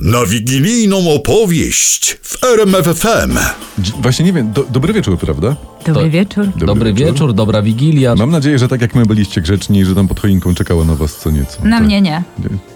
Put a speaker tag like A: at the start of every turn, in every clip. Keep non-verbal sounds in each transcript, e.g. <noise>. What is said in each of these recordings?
A: na wigilijną opowieść w RMFFM.
B: Dzi- Właśnie nie wiem, do, dobry wieczór, prawda?
C: Dobry
D: To-
C: wieczór.
B: Dobry
D: Dobry,
B: wieczór.
D: wieczór. dobra Wigilia.
B: Mam nadzieję, że tak jak my byliście grzeczni, że tam pod choinką czekała na was co nieco.
C: Na
B: Tak.
C: mnie nie.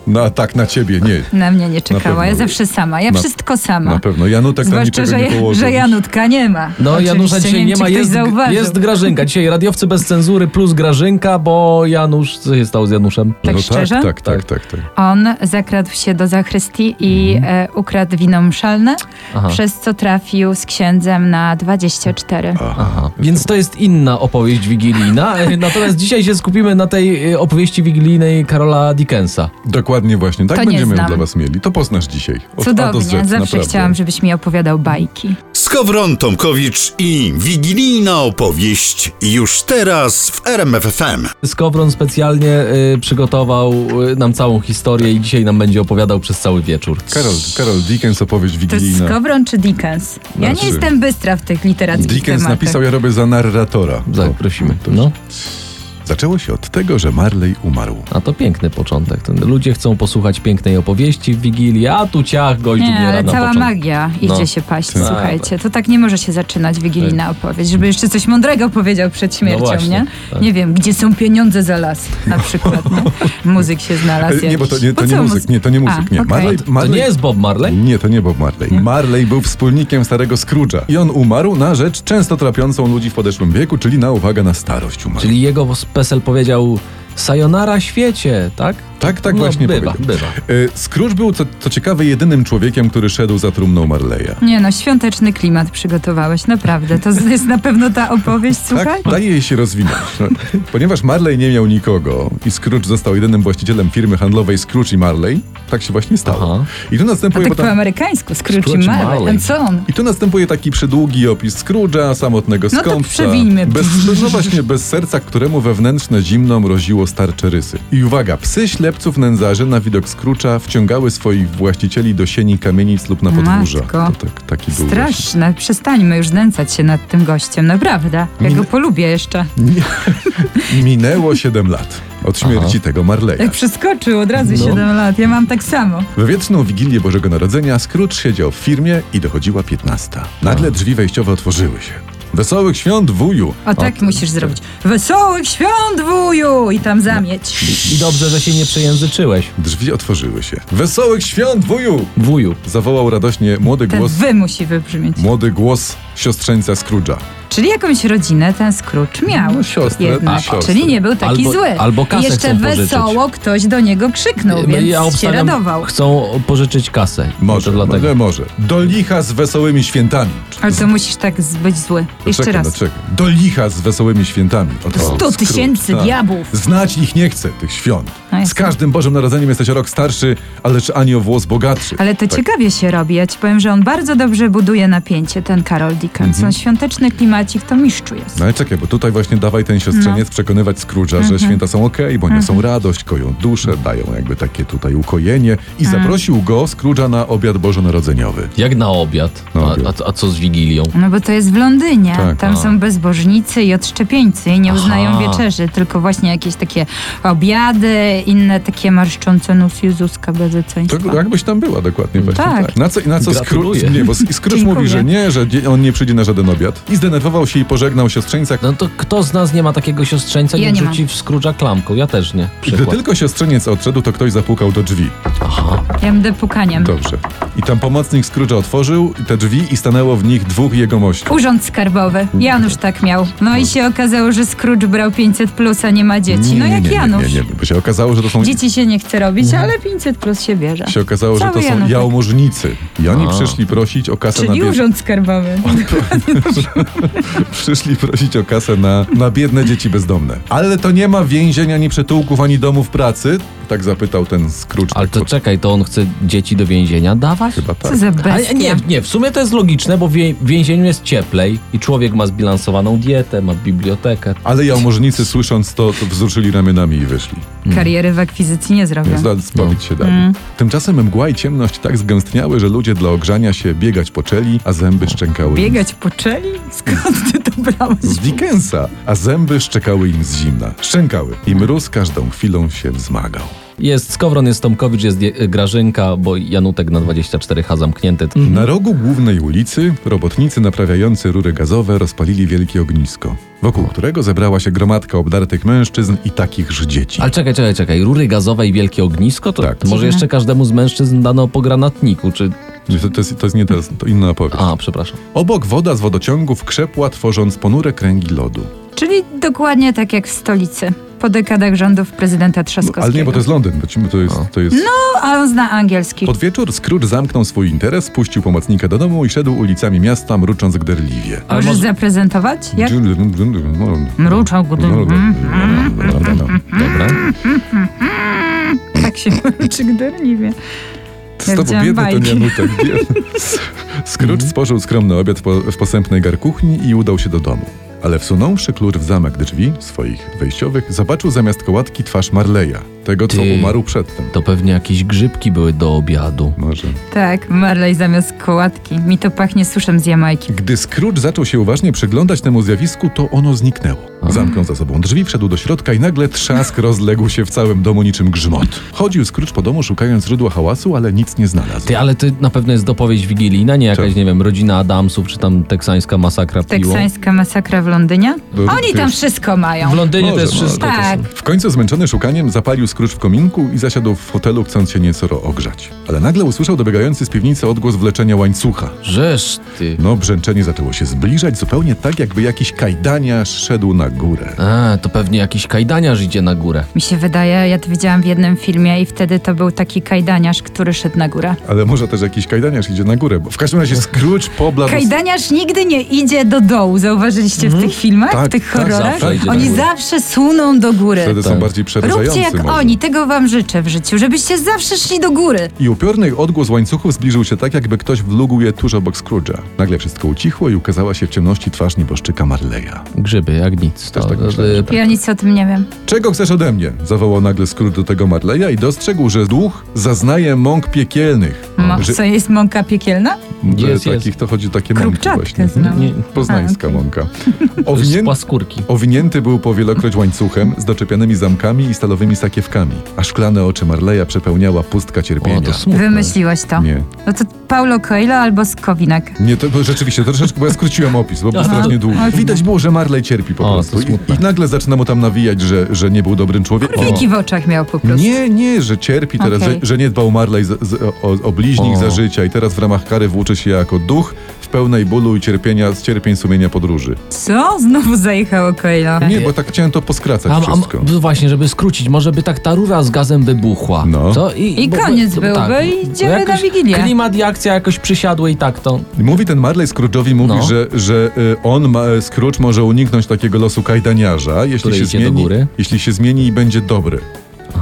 B: Na, tak, na ciebie, nie.
C: Na mnie nie
B: pewno.
C: czekała. Ja zawsze sama. Ja
B: Na-
C: wszystko sama.
B: Na pewno. Janutek tam
C: Zwłaszcza,
B: niczego
C: że,
B: nie położył.
C: że Janutka nie ma.
D: No
C: Oczywiście,
D: Janusza dzisiaj
C: wiem,
D: nie
C: czy
D: ma,
C: ktoś
D: jest,
C: zauważył.
D: jest Grażynka. Dzisiaj radiowcy bez cenzury plus Grażynka, bo Janusz, co się stało z Januszem?
C: Tak
B: no tak,
C: szczerze?
B: tak, tak, tak, tak.
C: On zakradł się do zachrystii i e, ukradł wino mszalne,
D: Mhm. Aha.
C: przez co trafił z księdzem na 24.
B: No,
D: Aha. Więc to jest inna
C: <laughs>
D: opowieść wigilijna. E, Natomiast dzisiaj się skupimy na tej e, opowieści wigilijnej Karola Dickensa.
B: Dokładnie właśnie. Tak
C: To nie
B: będziemy
C: znam.
B: dla was mieli. To poznasz dzisiaj. Od A do
C: Cudownie.
B: Z,
C: Zawsze
B: naprawdę.
C: chciałam, żebyś mi opowiadał bajki.
A: Skowron Tomkowicz i wigilijna opowieść już teraz w RMFFM.
D: Skowron specjalnie y, przygotował y, nam całą historię i dzisiaj nam będzie opowiadał przez cały wieczór.
B: Karol, Karol Dickens, opowieść
C: To jest
B: wigilijna.
C: Skowron czy Dickens? Ja
B: Znaczy-
C: nie jestem bystra w tych literackich
B: Dickens
C: tematach.
B: napisał, ja robię za narratora.
D: Tak,
B: O,
D: prosimy.
B: to już.
D: No,
B: Zaczęło się od tego, że Marley umarł.
D: a to piękny początek. Ten- Ludzie chcą posłuchać pięknej opowieści w Wigilię, a tu ciach, gość
C: Nie,
D: umiera
C: ale
D: na
C: cała
D: początku.
C: magia idzie
D: No.
C: się paść,
D: Tak.
C: słuchajcie. To tak nie może się zaczynać
B: Tak.
C: wigilijna opowieść, żeby jeszcze coś mądrego powiedział
B: No
C: przed śmiercią,
D: właśnie,
C: nie?
D: tak.
C: Nie wiem, gdzie są pieniądze za las na przykład, nie? Muzyk się znalazł
B: E, No. <laughs> Nie, bo to
C: jakiś.
B: nie,
C: Po
B: to nie
C: co
B: muzyk,
C: muzy-
B: nie, to nie
C: A,
B: muzyk, nie.
C: okej.
B: Marley,
D: To
B: Marley
D: nie jest Bob Marley?
B: Nie, to nie Bob Marley. Marley był wspólnikiem starego Scrooge'a i on umarł na rzecz często trapiącą ludzi w podeszłym wieku, czyli na uwaga na starość umarł.
D: Czyli jego PESEL powiedział Sayonara świecie, tak?
B: Tak, tak
D: No,
B: właśnie
D: bywa,
B: powiedział.
D: bywa.
B: Y, Scrooge był, co, co ciekawe, jedynym człowiekiem, który szedł za trumną Marleya.
C: Nie no, świąteczny klimat przygotowałeś, naprawdę. To z- jest na pewno ta opowieść, słuchaj?
B: Tak, daje jej się rozwinąć. No, ponieważ Marley nie miał nikogo i Scrooge został jedynym właścicielem firmy handlowej Scrooge i Marley, tak się właśnie stało.
D: Aha.
B: I tu
C: A
B: następuje
C: tak po
B: potem...
C: amerykańsku, Scrooge
D: Scrooge
C: i
D: i
C: Marley.
D: Marley.
C: A co on?
B: I tu następuje taki przydługi opis Scrooge'a, samotnego
C: No to
B: skąpca.
C: przewijmy.
B: Bez, no właśnie, bez serca, któremu wewnętrzne zimno mroziło starcze rysy. I uwaga, psy ślepców nędzarzy na widok Scrooge'a wciągały swoich właścicieli do sieni kamienic lub na podwórza.
C: Matko.
B: To tak, taki był właśnie.
C: Straszne, przestańmy już nęcać się nad tym gościem, naprawdę. Ja
B: Mm.
C: go polubię jeszcze.
B: Minęło 7 lat od śmierci tego Marleya.
C: Jak przeskoczył od razu
B: No.
C: 7 lat, ja mam tak samo.
B: W wieczną Wigilię Bożego Narodzenia Scrooge siedział w firmie i dochodziła 15. Nagle drzwi wejściowe otworzyły się. Wesołych świąt, wuju!
C: O tak musisz zrobić. Wesołych świąt, wuju! I tam zamieć.
D: I dobrze, że się nie przejęzyczyłeś,
B: Drzwi otworzyły się. Wesołych świąt, wuju!
D: wuju.
B: Zawołał radośnie młody
C: Ten
B: głos,
C: wy musi wybrzmieć.
B: młody głos siostrzeńca Scrooge'a.
C: Czyli jakąś rodzinę ten Scrooge miał.
B: No, siostrę,
C: Jednak.
B: a, siostrę.
C: Czyli nie był taki
D: Albo-
C: zły.
D: albo kasę
C: I jeszcze
D: chcą pożyczyć.
C: wesoło ktoś do niego krzyknął, No,
B: No
C: więc się radował.
D: No, chcą pożyczyć kasę.
B: Może,
D: To
B: może,
D: dlatego.
B: może. Do licha z wesołymi świętami.
C: Ale to musisz tak z- być zły. Jeszcze
B: Czekaj,
C: raz.
B: no czekaj. Do licha z wesołymi świętami. Oto
C: Sto
B: Scrooge, tak.
C: tysięcy diabłów.
B: Znać ich nie chcę, tych świąt.
C: No
B: z
C: jasne.
B: każdym Bożym Narodzeniem jesteś o rok starszy, ale czy ani o włos bogatszy.
C: Ale to ciekawie się robi. Ja ci powiem, że on bardzo dobrze buduje napięcie, ten Karol Dickens.
B: Mhm.
C: On świąteczny klimacik to mistrzu jest.
B: No ale czekaj, bo tutaj właśnie dawaj ten siostrzeniec
C: No.
B: przekonywać Scrooge'a, że
C: Mhm.
B: święta są okej, bo nie są radość, koją duszę, dają jakby takie tutaj ukojenie i zaprosił go, Scrooge'a, na obiad bożonarodzeniowy.
D: Jak na obiad.
B: Na
D: a,
B: obiad.
D: A, a co z Wigilią?
C: No bo to jest w Londynie.
B: Tak.
C: Tam
B: A.
C: są bezbożnicy i odszczepieńcy i nie uznają
D: Aha.
C: wieczerzy, tylko właśnie jakieś takie obiady, inne takie marszczące nos Jezuska bezeceństwa.
B: To jakbyś tam była dokładnie właśnie.
C: Tak.
B: Tak. Na co, na co
D: Gratuluję.
B: Scrooge, nie, bo Scrooge
C: Dziękuję.
B: mówi, że nie, że nie- on nie przyjdzie na żaden obiad. I zdenerwował się i pożegnał siostrzeńca.
D: No to kto z nas nie ma takiego siostrzeńca,
C: Ja
D: nie
C: nie mam.
D: rzuci w Scrooge'a klamką? Ja też nie.
B: Gdy
D: Przykład.
B: tylko siostrzeniec odszedł, to ktoś zapukał do drzwi.
D: Aha.
C: Ja będę pukaniem.
B: Dobrze. I tam pomocnik Scrooge'a otworzył te drzwi i stanęło w nich dwóch jegomości.
C: Urząd Skarbowy. Janusz tak miał. No i się okazało, że Scrooge brał 500 plus, a nie ma dzieci. No jak
B: nie, nie,
C: Janusz.
B: nie, nie, bo się okazało, że to są...
C: Dzieci się nie chce robić, ale 500 plus się bierze.
B: się okazało, że
C: Cały
B: to są
C: Janutek.
B: jałmużnicy. I oni
D: A.
B: przyszli prosić o kasę
C: Czyli
B: na biedne...
C: Urząd Skarbowy.
B: tak. Przyszli prosić o kasę na, na biedne dzieci bezdomne. Ale to nie ma więzień, ani przytułków, ani domów pracy? Tak zapytał ten Scrooge.
D: Ale
B: tak
D: to
B: pod-
D: czekaj, to on chce dzieci do więzienia dawać?
B: Chyba tak.
C: Co za
D: Ale
C: bestia.
D: nie, nie, w sumie to jest logiczne, bo w wie- w więzieniu jest cieplej i człowiek ma zbilansowaną dietę, ma bibliotekę.
B: Ale jałmużnicy słysząc to, to wzruszyli ramionami i wyszli.
C: Kariery w akwizycji nie zrobią.
B: Więc da- Zbawić się dali.
C: Mm.
B: Tymczasem mgła i ciemność tak zgęstniały, że ludzie dla ogrzania się biegać poczęli, a zęby szczękały im
C: Biegać po czeli? Skąd ty to brałeś?
B: z Dickensa, a zęby szczekały im z zimna. Szczękały i mróz każdą chwilą się wzmagał.
D: Jest Skowron, jest Tomkowicz, jest Je- Grażynka, bo Janutek na 24H zamknięty. No.
B: Na rogu głównej ulicy robotnicy naprawiający rury gazowe rozpalili wielkie ognisko, wokół którego zebrała się gromadka obdartych mężczyzn i takichż dzieci.
D: Ale czekaj, czekaj, czekaj. Rury gazowe i wielkie ognisko? To,
B: Tak.
D: to może
C: Dziwne.
D: jeszcze każdemu z mężczyzn dano po granatniku, czy...
B: To, to, jest, to jest nie to, jest- to inna opowieść.
D: A, przepraszam.
B: Obok woda z wodociągów krzepła, tworząc ponure kręgi lodu.
C: Czyli dokładnie tak jak w stolicy. Po dekadach rządów prezydenta Trzaskowskiego.
B: No, Ale nie, bo to jest Londyn. bo To jest, to jest...
C: No, a on zna angielski.
B: Pod wieczór Scrooge zamknął swój interes, puścił pomocnika do domu i szedł ulicami miasta, mrucząc gderliwie.
C: Możesz zaprezentować? Jak? Mruczał, gdy-
D: Dobra.
C: Tak się <laughs> mruczy, gdy nie wie.
B: Z tobą
C: Widziałam
B: biedny ten
C: bajki.
B: Janutek, biedny. Scrooge spożył skromny obiad po, w posępnej garkuchni i udał się do domu. Ale wsunąwszy klucz w zamek drzwi, swoich wejściowych, zobaczył zamiast kołatki twarz Marleya, tego co
D: Ty.
B: umarł przedtem.
D: To pewnie jakieś grzybki były do obiadu.
B: Może.
C: Tak, Marley zamiast kołatki. Mi to pachnie suszem z Jamajki.
B: Gdy Scrooge zaczął się uważnie przyglądać temu zjawisku, to ono zniknęło. Zamknął za sobą drzwi, wszedł do środka i nagle trzask rozległ się w całym domu niczym grzmot. Chodził Scrooge po domu szukając źródła hałasu, ale nic nie znalazł.
D: Ty, ale to na pewno jest dopowiedź wigilijna, nie jakaś,
B: Czemu?
D: nie wiem, rodzina Adamsów, czy tam teksańska masakra piło.
C: Teksańska masakra w Londynie?
B: Do-
C: Oni tam
B: wiesz-
C: wszystko mają.
D: W Londynie
B: Może,
D: to jest
B: może.
D: wszystko. to
C: Tak.
D: są-
B: W końcu zmęczony szukaniem zapalił Scrooge w kominku i zasiadł w fotelu, chcąc się nieco ro- ogrzać. Ale nagle usłyszał dobiegający z piwnicy odgłos wleczenia łańcucha.
D: Żeż ty.
B: No, brzęczenie zaczęło się zbliżać zupełnie tak, jakby jakiś kajdaniarz szedł na górę.
D: A, to pewnie jakiś kajdaniarz idzie na górę.
C: Mi się wydaje, ja to widziałam w jednym filmie i wtedy to był taki kajdaniarz, który szedł na górę.
B: Ale może też jakiś kajdaniarz idzie na górę, bo w każdym razie Scrooge pobladł...
C: <laughs> Kajdaniarz nigdy nie idzie do dołu, zauważyliście w tych filmach,
B: Tak,
C: w tych
B: tak,
C: horrorach?
D: zawsze idzie do
C: oni
D: góry.
C: zawsze suną do góry.
B: Wtedy są
D: Tak.
B: bardziej przerażający
C: Róbcie jak
B: może.
C: oni, tego wam życzę w życiu, żebyście zawsze szli do góry.
B: I upiorny odgłos łańcuchów zbliżył się tak, jakby ktoś wlógł je tuż obok Scrooge'a. Nagle wszystko ucichło i ukazała się w ciemności twarz nieboszczyka Marleya.
D: Grzyby, jak nic.
B: Też tak myślę,
D: y,
B: że
C: Ja nic o tym nie wiem.
B: Czego chcesz ode mnie? Zawołał nagle Scrooge do tego Marleya i dostrzegł, że duch zaznaje mąk piekielnych.
C: Mo-
B: Że-
C: Co jest mąka piekielna?
B: Że
D: Jest,
B: takich
D: jest.
B: to chodzi o takie mąki właśnie.
C: Krupczatka znam.
D: Nie,
B: Poznańska
C: A, okej. <laughs>
B: mąka.
D: Z
B: Owinię...
D: paskórki.
B: Owinięty był po wielokroć łańcuchem z doczepianymi zamkami i stalowymi sakiewkami, a szklane oczy Marleya przepełniała pustka cierpienia.
D: O, to smutne.
C: Wymyśliłeś to.
B: Nie.
C: No to Paulo Coelho albo Skowinak.
B: Nie, to bo rzeczywiście, to troszeczkę, bo ja skróciłem opis, bo był
D: Aha.
B: strasznie długi.
C: Okej.
B: Widać było, że Marley cierpi po
D: O, to
B: prostu. I,
D: smutne.
B: I nagle zaczyna mu tam nawijać, że, że nie był dobrym człowiekiem.
C: Wieki w oczach miał po prostu.
B: Nie, nie, że cierpi teraz,
C: Okej.
B: że, że nie dbał Marley z, z, o, o bliźnich
D: O.
B: za życia i teraz w ramach kary włóczy się jako duch w pełnej bólu i cierpienia, z cierpień sumienia podróży.
C: Co? Znowu zajechało Coelho.
B: Nie, bo tak chciałem to poskracać
D: A,
B: wszystko.
D: a, właśnie, żeby skrócić, może by tak ta rura z gazem wybuchła.
B: No.
D: Co? I,
C: I
D: bo- bo-
C: koniec
D: to-
C: byłby i idziemy
D: jakoś
C: na Wigilię.
D: Klimat i akcja jakoś przysiadły i tak to.
B: Mówi ten Marley Scrooge'owi, mówi,
D: No.
B: że, że y, on, ma, Scrooge, może uniknąć takiego losu kajdaniarza, jeśli
D: Który
B: się,
D: idzie do
B: zmieni,
D: góry.
B: jeśli się zmieni i będzie dobry.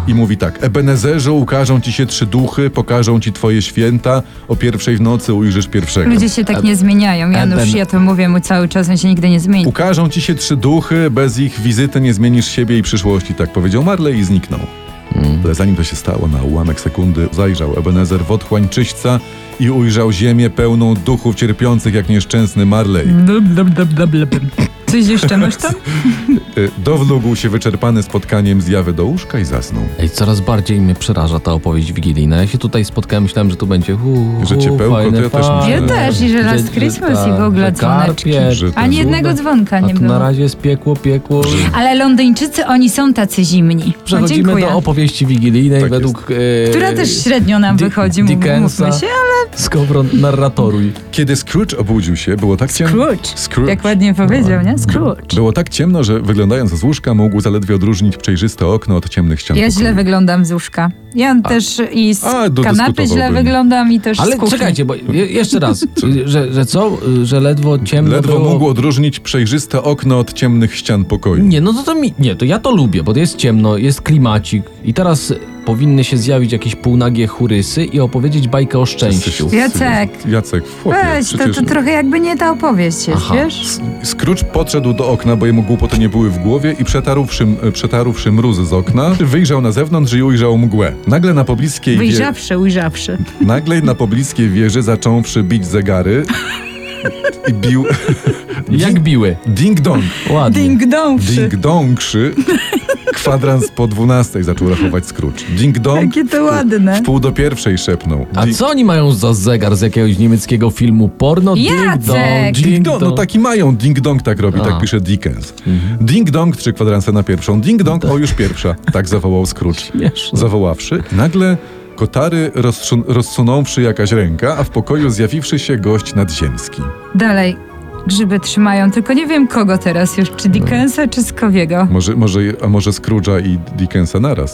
B: I mówi tak, Ebenezerze, ukażą ci się trzy duchy, pokażą ci twoje święta, o pierwszej w nocy ujrzysz pierwszego.
C: Ludzie się tak nie zmieniają. Janusz,
D: Eben-
C: ja to mówię mu cały czas, on się nigdy nie zmieni.
B: Ukażą ci się trzy duchy, bez ich wizyty nie zmienisz siebie i przyszłości, tak powiedział Marley i zniknął. Ale zanim to się stało, na ułamek sekundy zajrzał Ebenezer w otchłań czyśćca i ujrzał ziemię pełną duchów cierpiących jak nieszczęsny Marley.
C: Dub, dub, dub, dub, dub. Coś jeszcze masz tam?
B: Y, Dowlógł się wyczerpany spotkaniem zjawy do łóżka i zasnął.
D: Ej, coraz bardziej mnie przeraża ta opowieść wigilijna. Ja się tutaj spotkałem, myślałem, że tu będzie. Hu,
B: Że
D: hu,
B: ciepełko,
D: fajne,
B: to ja też
D: fajne.
B: myślę.
C: Ja też, i że Last
D: tak,
C: Christmas i w ogóle
D: że
C: dzwoneczki.
D: karpie,
B: Że
D: a
C: Ani jednego dzwonka nie
D: tu na
C: było.
D: razie jest piekło, piekło.
C: Ale Londyńczycy, oni są tacy zimni. No,
D: Przechodzimy
C: dziękuję.
D: do opowieści wigilijnej
B: Tak
D: według... E,
C: Która też średnio nam
D: Di-
C: wychodzi, mów-
D: Dickensa.
C: mówmy się,
D: Skowron narratoruj.
B: Kiedy Scrooge obudził się, było tak
C: ale
B: ciemno.
C: Scrooge. Jak ładnie powiedział, nie? Scrooge.
B: Było tak ciemno, że wyglądając z łóżka mógł zaledwie odróżnić przejrzyste okno od ciemnych ścian.
C: Ja
B: pokoju.
C: źle wyglądam z łóżka. Ja też i z
B: A,
C: kanapy źle
B: dodyskutowałbym.
C: wyglądam i też z
D: Ale
C: kuchni.
D: czekajcie, bo je, jeszcze raz, y, że, że co? Y, Że ledwo ciemno
B: Ledwo
C: No
D: było...
B: mógł odróżnić przejrzyste okno od ciemnych ścian pokoju.
D: Nie, no to, to mi, nie, to ja to lubię, bo jest ciemno, jest klimacik i teraz powinny się zjawić jakieś półnagie churysy i opowiedzieć bajkę o szczęściu.
C: Jacek.
B: Jacek, chłopie,
C: Weź, to,
B: przecież...
C: to trochę jakby nie ta opowieść jest,
D: Aha.
C: wiesz?
B: Scrooge podszedł do okna, bo jemu głupoty nie były w głowie i przetarłszy, przetarłszy mróz z okna, wyjrzał na zewnątrz i ujrzał mgłę. Nagle na pobliskiej, wie...
C: Wyjrzawszy, ujrzawszy.
B: Nagle na pobliskiej wieży zacząwszy bić zegary i bił... <laughs>
D: Jak biły.
B: Ding dong.
D: Ładnie.
C: Ding dong.
B: Ding dongszy Kwadrans po dwunastej zaczął rachować Scrooge. Ding dong.
C: Jakie to ładne.
B: W pół do pierwszej szepnął.
D: A
B: Ding-
D: co oni mają za zegar z jakiegoś niemieckiego filmu porno?
C: Jacek!
D: Ding dong,
B: Ding
D: ding
B: dong,
D: dong. Mhm.
B: no taki mają, ding dong tak robi, tak
D: A.
B: pisze Dickens. Ding dong, trzy kwadranse na pierwszą, ding dong, o już pierwsza, tak zawołał Scrooge.
D: Śmieszne.
B: Zawoławszy, nagle kotary rozsun- rozsunąwszy jakaś ręka, a w pokoju zjawiwszy się gość nadziemski.
C: Dalej. Grzyby trzymają, tylko nie wiem kogo teraz już, czy Dickensa, czy Skowiego.
B: Może, może, a może Scrooge'a i Dickensa naraz?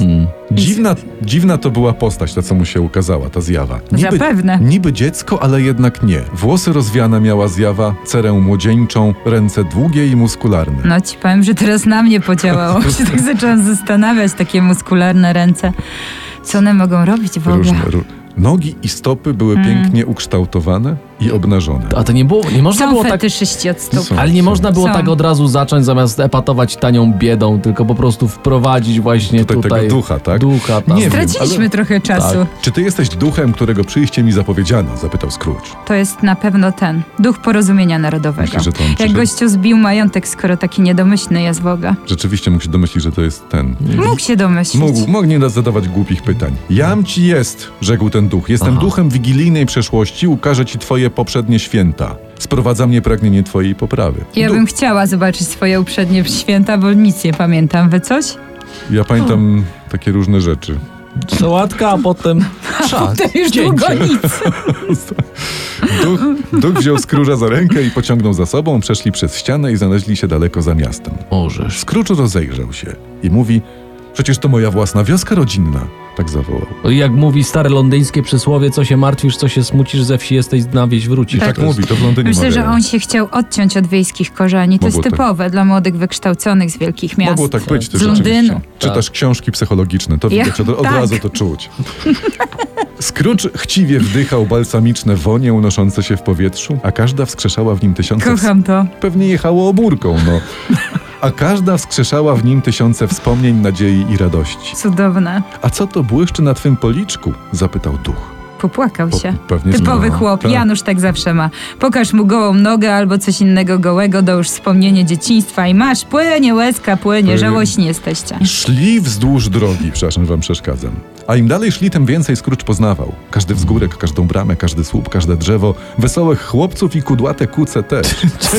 B: Dziwna, dziwna to była postać, ta co mu się ukazała, ta zjawa.
C: Zapewne.
B: Niby dziecko, ale jednak nie. Włosy rozwiane miała zjawa, cerę młodzieńczą, ręce długie i muskularne.
C: No ci powiem, że teraz na mnie podziałało. się tak zaczęłam zastanawiać, takie muskularne ręce. Co one mogą robić w ogóle?
B: Różne, ró- Nogi i stopy były pięknie ukształtowane i obnażone.
D: A to nie było, nie można
C: Są
D: było tak...
C: fetyszyści od stóp.
B: Są.
D: Ale nie można było
C: Są.
D: tak od razu zacząć, zamiast epatować tanią biedą, tylko po prostu wprowadzić właśnie
B: Tutaj
D: tutaj...
B: tego ducha, tak?
D: Ducha, tam.
B: Nie wiem,
C: Straciliśmy
B: ale- Tak.
C: trochę czasu.
B: Czy ty jesteś duchem, którego przyjście mi zapowiedziano? Zapytał Scrooge.
C: To jest na pewno ten, duch porozumienia narodowego.
B: Myślisz, że to on
C: Jak
B: przyszedł?
C: gościu zbił majątek, skoro taki niedomyślny jest w ogóle.
B: Rzeczywiście mógł się domyślić, że to jest ten.
C: Mógł się domyślić.
B: Mógł, mógł nie zadawać głupich pytań. Jam ci jest, rzekł ten duch. Jestem
D: Aha.
B: duchem wigilijnej przeszłości, ukażę ci twoje poprzednie święta. Sprowadza mnie pragnienie twojej poprawy.
C: Ja
B: Duch.
C: bym chciała zobaczyć swoje uprzednie święta, bo nic nie pamiętam. Wy coś?
B: ja pamiętam takie różne rzeczy.
D: Sałatka, <laughs> a potem... Czas.
C: To już długo
B: <laughs>
C: nic.
B: Duch, duch wziął Scrooge'a za rękę i pociągnął za sobą, przeszli przez ścianę i znaleźli się daleko za miastem.
D: Możesz.
B: Scrooge rozejrzał się i mówi: Przecież to moja własna wioska rodzinna. Tak zawołał.
D: Jak mówi stare londyńskie przysłowie, co się martwisz, co się smucisz, ze wsi jesteś, na wieś
B: I
D: wrócisz.
B: tak,
C: Tak.
B: mówi, to w Londynie
C: Myślę, że
B: mawiają.
C: on się chciał odciąć od wiejskich korzeni. To
B: Mogło
C: jest
B: tak.
C: typowe dla młodych wykształconych z wielkich miast.
B: Mogło tak być też
C: Z Londynu.
B: rzeczywiście.
C: Tak.
B: Czytasz książki psychologiczne, to
C: Ja-
B: widać, od, od
C: tak.
B: razu to
C: <laughs>
B: czuć. Scrooge chciwie wdychał balsamiczne wonie unoszące się w powietrzu, a każda wskrzeszała w nim tysiące... ws-
C: Kocham to.
B: Pewnie jechało obórką, no. A każda wskrzeszała w nim tysiące wspomnień, nadziei i radości.
C: Cudowne.
B: A co to błyszczy na twym policzku? Zapytał duch.
C: Popłakał
B: Po-
C: się.
B: pewnie, że
C: Typowy
B: no.
C: chłop.
B: Tak.
C: Janusz tak zawsze ma. Pokaż mu gołą nogę albo coś innego gołego, do już wspomnienie dzieciństwa i masz, płynie łezka, płynie,
B: Płynie.
C: żałośni jesteście.
B: Szli wzdłuż drogi, przepraszam, że wam przeszkadzam. A im dalej szli, tym więcej Scrooge poznawał. Każdy wzgórek, każdą bramę, każdy słup, każde drzewo, wesołych chłopców i kudłate kuce też.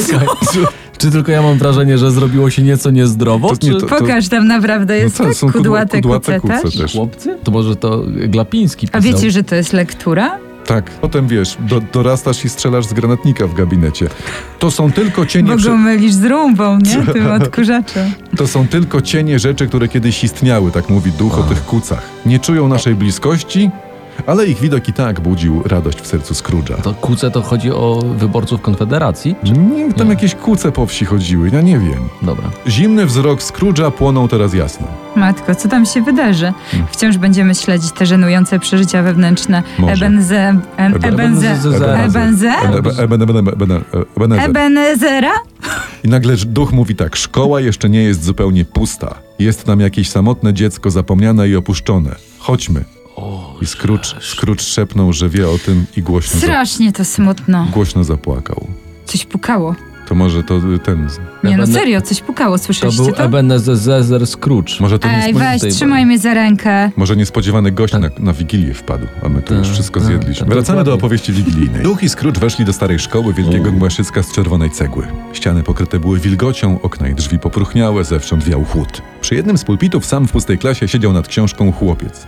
D: Czekaj, czy, czy tylko ja mam wrażenie, że zrobiło się nieco niezdrowo?
B: To
D: czy...
B: nie to-
C: Pokaż, tam naprawdę jest
B: co,
C: tak
B: są kudła-
C: kudłate,
B: kudłate
C: kudłate kuce,
B: kuce no.
C: też.
B: też.
D: Chłopcy? To może to Glapiński
C: A
D: pisał.
C: wiecie, że to jest lektura?
B: Tak, potem wiesz, do, dorastasz i strzelasz z granatnika w gabinecie. To są tylko cienie...
C: Bo
B: Przy...
C: go mylisz z rumbą,
B: <laughs>
C: nie? Tym odkurzaczem.
B: To są tylko cienie rzeczy, które kiedyś istniały, tak mówi duch o tych kucach. Nie czują naszej bliskości, ale ich widok i tak budził radość w sercu Scrooge'a.
D: To kuce to chodzi o wyborców Konfederacji? Czy...
B: Nie, Mm, tam jakieś kuce po wsi chodziły, ja nie wiem.
D: Dobra.
B: Zimny wzrok Scrooge'a płonął teraz jasno.
C: Matko, co tam się wydarzy?
B: Hmm.
C: Wciąż będziemy śledzić te żenujące przeżycia wewnętrzne.
B: Może.
C: Ebenze... em-
B: Eben-
C: Ebenze...
D: Ebenezer.
C: Ebenze...
B: Ebe- ebe- ebe- ebe- ebe- ebe- ebe-
C: Ebenezera?
B: I nagle duch mówi tak, szkoła jeszcze nie jest zupełnie pusta. Jest tam jakieś samotne dziecko zapomniane i opuszczone. Chodźmy.
D: O,
B: I Scrooge, Scrooge szepnął, że wie o tym i głośno, za,
C: Strasznie to smutno.
B: głośno zapłakał.
C: Coś pukało.
B: To może to y, ten...
C: Nie no,
D: Ebene-
C: serio, coś pukało,
D: to
C: słyszeliście
D: był
C: to?
D: Ebenezer Scrooge.
B: Może to
C: Ej,
B: niespo-
D: niespodzianka
C: weź,
D: i-
C: trzymaj mnie za rękę.
B: może niespodziewany gość na, na Wigilię wpadł, a my tu już
D: Tak,
B: wszystko
D: tak,
B: zjedliśmy.
D: tak,
B: Wracamy do
D: dokładnie.
B: opowieści wigilijnej. Duch i Scrooge weszli do starej szkoły wielkiego młaszczycka z czerwonej cegły. Ściany pokryte były wilgocią, okna i drzwi popruchniałe, zewsząd wiał chłód. Przy jednym z pulpitów sam w pustej klasie siedział nad książką chłopiec.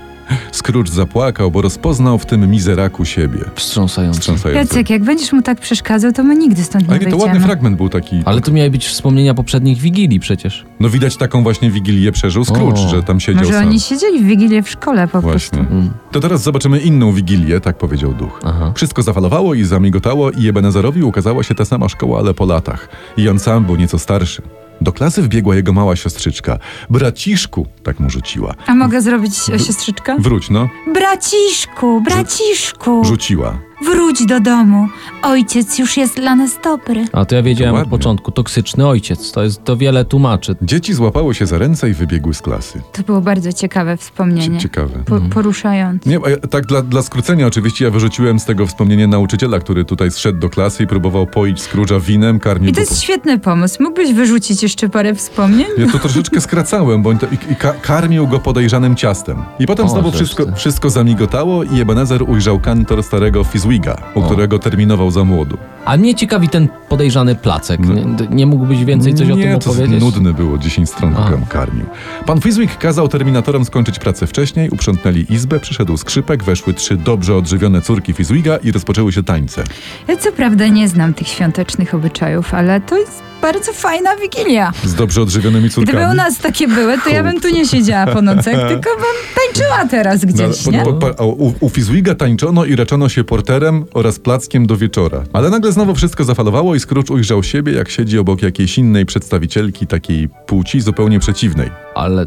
B: Scrooge zapłakał, bo rozpoznał w tym mizeraku siebie.
D: Wstrząsający.
B: Wstrząsający.
C: Jacek, jak będziesz mu tak przeszkadzał, to my nigdy stąd nie
B: Ale nie, to ładny
C: wyjdziemy.
B: fragment był taki.
D: Ale to miały być wspomnienia poprzednich Wigilii przecież.
B: No widać taką właśnie wigilię przeżył Scrooge,
D: O.
B: że tam siedział
C: Może
B: sam.
C: oni siedzieli w Wigilię w szkole po
B: Właśnie.
C: prostu.
D: Mm.
B: To teraz zobaczymy inną wigilię, tak powiedział duch.
D: Aha.
B: Wszystko zafalowało i zamigotało i Ebenezerowi ukazała się ta sama szkoła, ale po latach. I on sam był nieco starszy. Do klasy wbiegła jego mała siostrzyczka. Braciszku, tak mu rzuciła.
C: A mogę zrobić e, siostrzyczkę?
B: Wróć no,
C: Braciszku, braciszku.
B: rzuciła.
C: Wróć do domu. Ojciec już jest dla nas dobry.
D: A to ja wiedziałem od
B: Ładnie.
D: początku. Toksyczny ojciec. To jest to wiele tłumaczy.
B: Dzieci złapały się za ręce i wybiegły z klasy.
C: To było bardzo ciekawe wspomnienie.
B: Ciekawe. no.
C: Po, poruszające.
B: Nie, a ja- tak dla, dla skrócenia oczywiście ja wyrzuciłem z tego wspomnienie nauczyciela, który tutaj zszedł do klasy i próbował poić Scrooge'a winem, karmił
C: I
B: go
C: to jest świetny pomysł. Mógłbyś wyrzucić jeszcze parę wspomnień?
B: Ja to troszeczkę skracałem, bo on to, i, i ka- karmił go podejrzanym ciastem. I potem
D: O,
B: znowu
D: zresztą.
B: wszystko, wszystko zamigotało i Ebenezer ujrzał kantor starego Fizwiga, u którego terminował za młodu.
D: A mnie ciekawi ten podejrzany placek. Nie, d- nie mógłbyś więcej coś
B: No. Nie,
D: o tym
B: to
D: opowiedzieć?
B: nudne było, 10 stron
D: A.
B: go karmił. Pan Fizwig kazał terminatorom skończyć pracę wcześniej, uprzątnęli izbę, przyszedł skrzypek, weszły trzy dobrze odżywione córki Fizwiga i rozpoczęły się tańce.
C: Ja co prawda nie znam tych świątecznych obyczajów, ale to jest bardzo fajna Wigilia.
B: Z dobrze odżywionymi córkami.
C: Gdyby u nas takie były, to ja bym tu nie siedziała po nocach, tylko bym tańczyła teraz gdzieś,
B: No,
C: nie?
B: po- po- po- a u, u Fizwiga tańczono i reczono się porterem oraz plackiem do wieczora. Ale nagle znowu wszystko zafalowało i Scrooge ujrzał siebie, jak siedzi obok jakiejś innej przedstawicielki takiej płci zupełnie przeciwnej.
D: Ale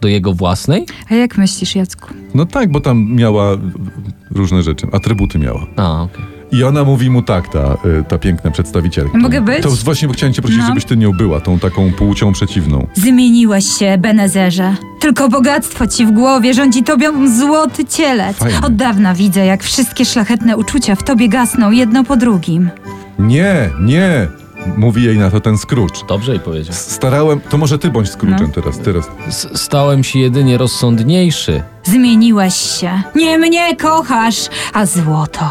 D: do jego własnej?
C: A jak myślisz, Jacku?
B: No tak, bo tam miała w- różne rzeczy, atrybuty miała.
D: A, okej.
B: I ona mówi mu tak, ta, y, ta piękna przedstawicielka.
C: Mogę być?
B: To właśnie chciałem cię prosić,
C: No.
B: żebyś ty nią była, tą taką płcią przeciwną.
C: Zmieniłeś się, Benezerze. Tylko bogactwo ci w głowie rządzi tobą złoty cielec.
B: Fajnie.
C: Od dawna widzę, jak wszystkie szlachetne uczucia w tobie gasną jedno po drugim.
B: Nie, nie, mówi jej na to ten Scrooge.
D: Dobrze i powiedział.
B: S- Starałem, to może ty bądź Scrooge'em
C: No.
B: teraz, teraz.
D: S- stałem się jedynie rozsądniejszy.
C: Zmieniłeś się. Nie mnie kochasz, a złoto.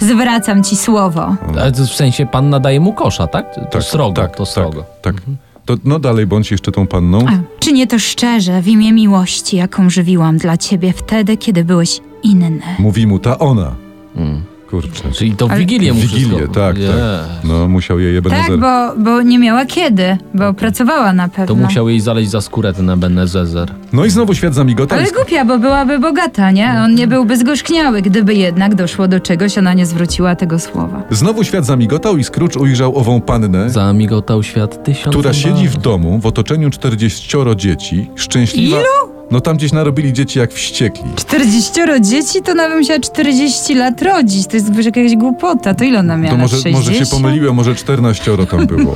C: Zwracam ci słowo.
D: Ale to w sensie pan nadaje mu kosza, tak? To srogo, to srogo.
B: Mhm.
D: Mhm.
B: Tak, tak. To, no dalej bądź jeszcze tą panną.
C: A, czy nie to szczerze w imię miłości, jaką żywiłam dla ciebie wtedy, kiedy byłeś inny?
B: Mówi mu ta ona.
D: Mm.
B: Kurczę.
D: Czyli to w
C: Ale-
D: Wigilię mu
B: Wigilię,
D: wszystko...
B: tak,
D: Nie.
B: tak. No musiał jej
C: Tak,
B: Ebenezer.
C: bo, bo nie miała kiedy, bo pracowała na pewno.
D: To musiał jej zaleźć za skórę ten Ebenezer.
B: No i znowu świat zamigotał.
C: Ale głupia, bo byłaby bogata, nie? On nie byłby zgorzkniały, gdyby jednak doszło do czegoś, ona nie zwróciła tego słowa.
B: Znowu świat zamigotał i Scrooge ujrzał ową pannę,
D: Zamigotał świat tysiąc.
B: która siedzi w domu w otoczeniu 40 dzieci, szczęśliwa. No tam gdzieś narobili dzieci jak wściekli.
C: 40 dzieci, to ona by musiała 40 lat rodzić. To jest wiesz, jakaś głupota. To ile ona miała?
B: To
C: lat?
B: może,
C: 60?
B: może się pomyliłem, może 14 tam
C: <laughs>
B: było.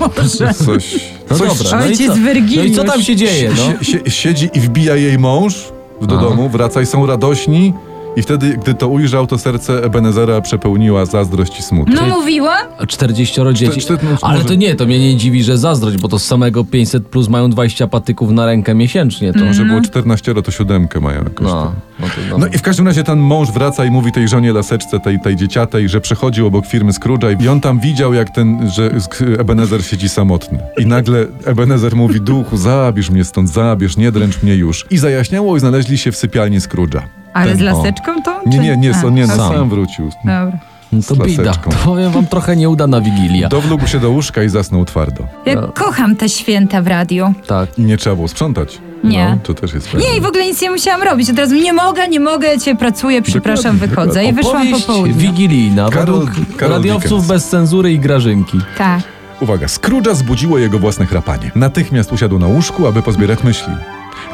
B: Coś.
D: No
B: coś
D: dobra, no i,
C: Ojciec
D: co? no i
C: Wyrgiliusz.
D: co tam się dzieje, no?
B: Sie, sie, siedzi i wbija jej mąż w- do
D: Aha.
B: domu, wraca i są radośni. I wtedy, gdy to ujrzał, to serce Ebenezera przepełniła zazdrość i smutek.
C: No mówiła?
D: 40 dzieci.
B: Czter- czter- no,
D: Ale
B: może-
D: to nie, to mnie nie dziwi, że zazdrość, bo to z samego 500 plus mają 20 patyków na rękę miesięcznie.
C: Mhm.
D: To
B: Może było 14, to siódemkę mają jakoś.
D: No,
B: No.
D: no, to,
B: no i w każdym razie ten mąż wraca i mówi tej żonie laseczce, tej, tej dzieciatej, że przechodził obok firmy Scrooge'a i on tam widział, jak ten, że Sk- Ebenezer siedzi samotny. I nagle Ebenezer mówi, duchu, zabierz mnie stąd, zabierz, nie dręcz mnie już. I zajaśniało i znaleźli się w sypialni Scrooge'a.
C: Ale
B: Ten-
C: z laseczką tą?
B: Tak. Nie,
C: czy-
B: nie, nie,
C: A,
B: on nie,
C: okej.
B: sam wrócił.
C: Dobra.
D: no to
B: z
D: bida.
B: laseczką.
D: To powiem wam trochę nieudana Wigilia.
B: Dowlógł się do łóżka i zasnął twardo.
C: Ja kocham te święta w radiu.
D: Tak.
B: I nie trzeba było sprzątać.
C: Nie.
B: No, to też jest fajne.
C: Nie, i w ogóle nic nie musiałam robić. Od razu nie mogę, nie mogę, ja cię pracuję, przepraszam,
B: Dokładnie,
C: wychodzę. I wyszłam po
D: Powieść
C: południu.
D: wigilijna,
B: Karol-
D: według
B: Karol
D: radiowców
B: Dickens.
D: bez cenzury i Grażynki.
C: Tak.
B: Uwaga, Scrooge'a zbudziło jego własne chrapanie. Natychmiast usiadł na łóżku, aby pozbierać myśli.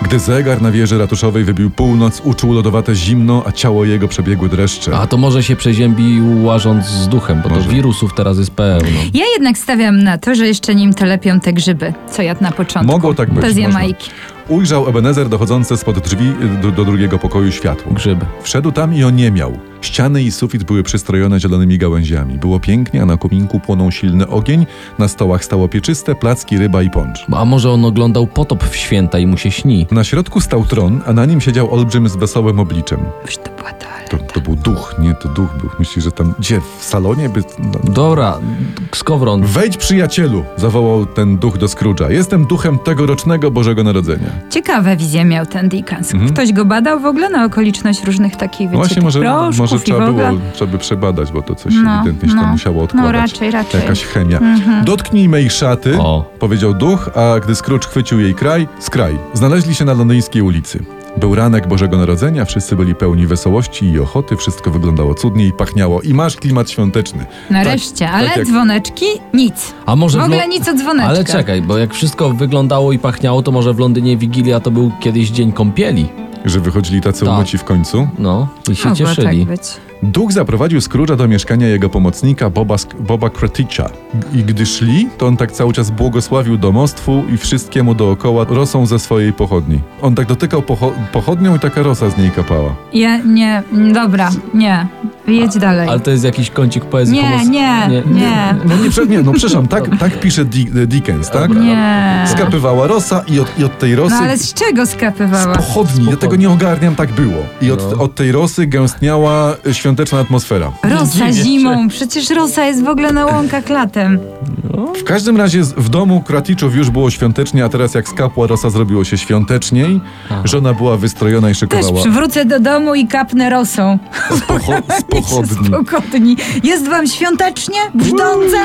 B: Gdy zegar na wieży ratuszowej wybił północ, uczuł lodowate zimno, a ciało jego przebiegły dreszcze.
D: A to może się przeziębił łażąc z duchem, bo
B: Może.
D: to wirusów teraz jest pełno.
C: Ja jednak stawiam na to, że jeszcze nim telepią te grzyby, co jadł na początku.
B: Mogło tak być.
C: To z
B: można.
C: Jamajki.
B: Ujrzał Ebenezer dochodzące spod drzwi y, do, do drugiego pokoju światło.
D: Grzyby.
B: Wszedł tam i oniemiał. Ściany i sufit były przystrojone zielonymi gałęziami. Było pięknie, a na kominku płonął silny ogień, na stołach stało pieczyste, placki, ryba i poncz.
D: A może on oglądał potop w święta i mu się śni?
B: Na środku stał tron, a na nim siedział olbrzym z wesołym obliczem.
C: Już to była toaleta.
B: To, to był duch, nie, to duch był. Myślisz, że tam gdzie? W salonie? By... No.
D: Dobra, skowron.
B: Wejdź przyjacielu, zawołał ten duch do Scrooge'a. Jestem duchem tegorocznego Bożego Narodzenia.
C: Ciekawe wizje miał ten Dickens. Ktoś go badał w ogóle na okoliczność różnych takich,
B: Mhm.
C: wiecie,
B: Właśnie
C: tych
B: może,
C: proszków
B: może
C: i
B: trzeba
C: w
B: było,
C: ogóle.
B: trzeba by przebadać, bo to coś
C: No,
B: ewidentnie się tam
C: no.
B: musiało
C: No,
B: odkładać.
C: raczej, raczej. Mhm.
B: Jakaś chemia. Dotknij mej szaty,
D: O.
B: powiedział duch, a gdy Scrooge chwycił jej kraj, skraj. Znaleźli się na londyńskiej ulicy. Był ranek Bożego Narodzenia, wszyscy byli pełni wesołości i ochoty, wszystko wyglądało cudnie i pachniało. I masz klimat świąteczny.
C: Nareszcie,
B: tak
C: ale
B: jak-
C: dzwoneczki? Nic.
D: A może
C: W ogóle
D: lo-
C: nic o dzwoneczkach.
D: Ale czekaj, bo jak wszystko wyglądało i pachniało, to może w Londynie Wigilia to był kiedyś dzień kąpieli.
B: Że wychodzili tacy
D: Tak.
B: umyci w końcu.
D: No, i się
C: Mogło tak
D: cieszyli.
C: być.
B: Duch zaprowadził Scrooge'a do mieszkania jego pomocnika Boba, Sk- Boba Kreticza. I gdy szli, to on tak cały czas błogosławił domostwu i wszystkiemu dookoła rosą ze swojej pochodni. On tak dotykał pocho- pochodnią i taka rosa z niej kapała.
C: Ja, nie, mm, dobra, nie. Jedź dalej.
D: Ale to jest jakiś kącik poezji
C: Nie,
D: homo-
C: nie, nie.
B: No nie, prze- nie no przepraszam,
C: <laughs>
B: tak, tak pisze Di- Dickens, tak?
C: Nie.
B: Skapywała rosa i od, i od tej rosy...
C: No ale z czego skapywała?
B: Pochodni, ja tego nie ogarniam, tak było. I od,
D: No.
B: od tej rosy gęstniała e, świąteczna atmosfera.
C: Rosa
D: dziwię się.
C: zimą, przecież rosa jest w ogóle na łąkach latem.
B: W każdym razie z- w domu Kraticzów już było świątecznie, a teraz jak skapła rosa zrobiło się świąteczniej. Żona była wystrojona i
C: Też
B: szykowała
C: przywrócę do domu i kapnę rosą. <laughs>
B: z, pocho- z pochodni.
C: Pogodni. Jest wam świątecznie? Brzdące?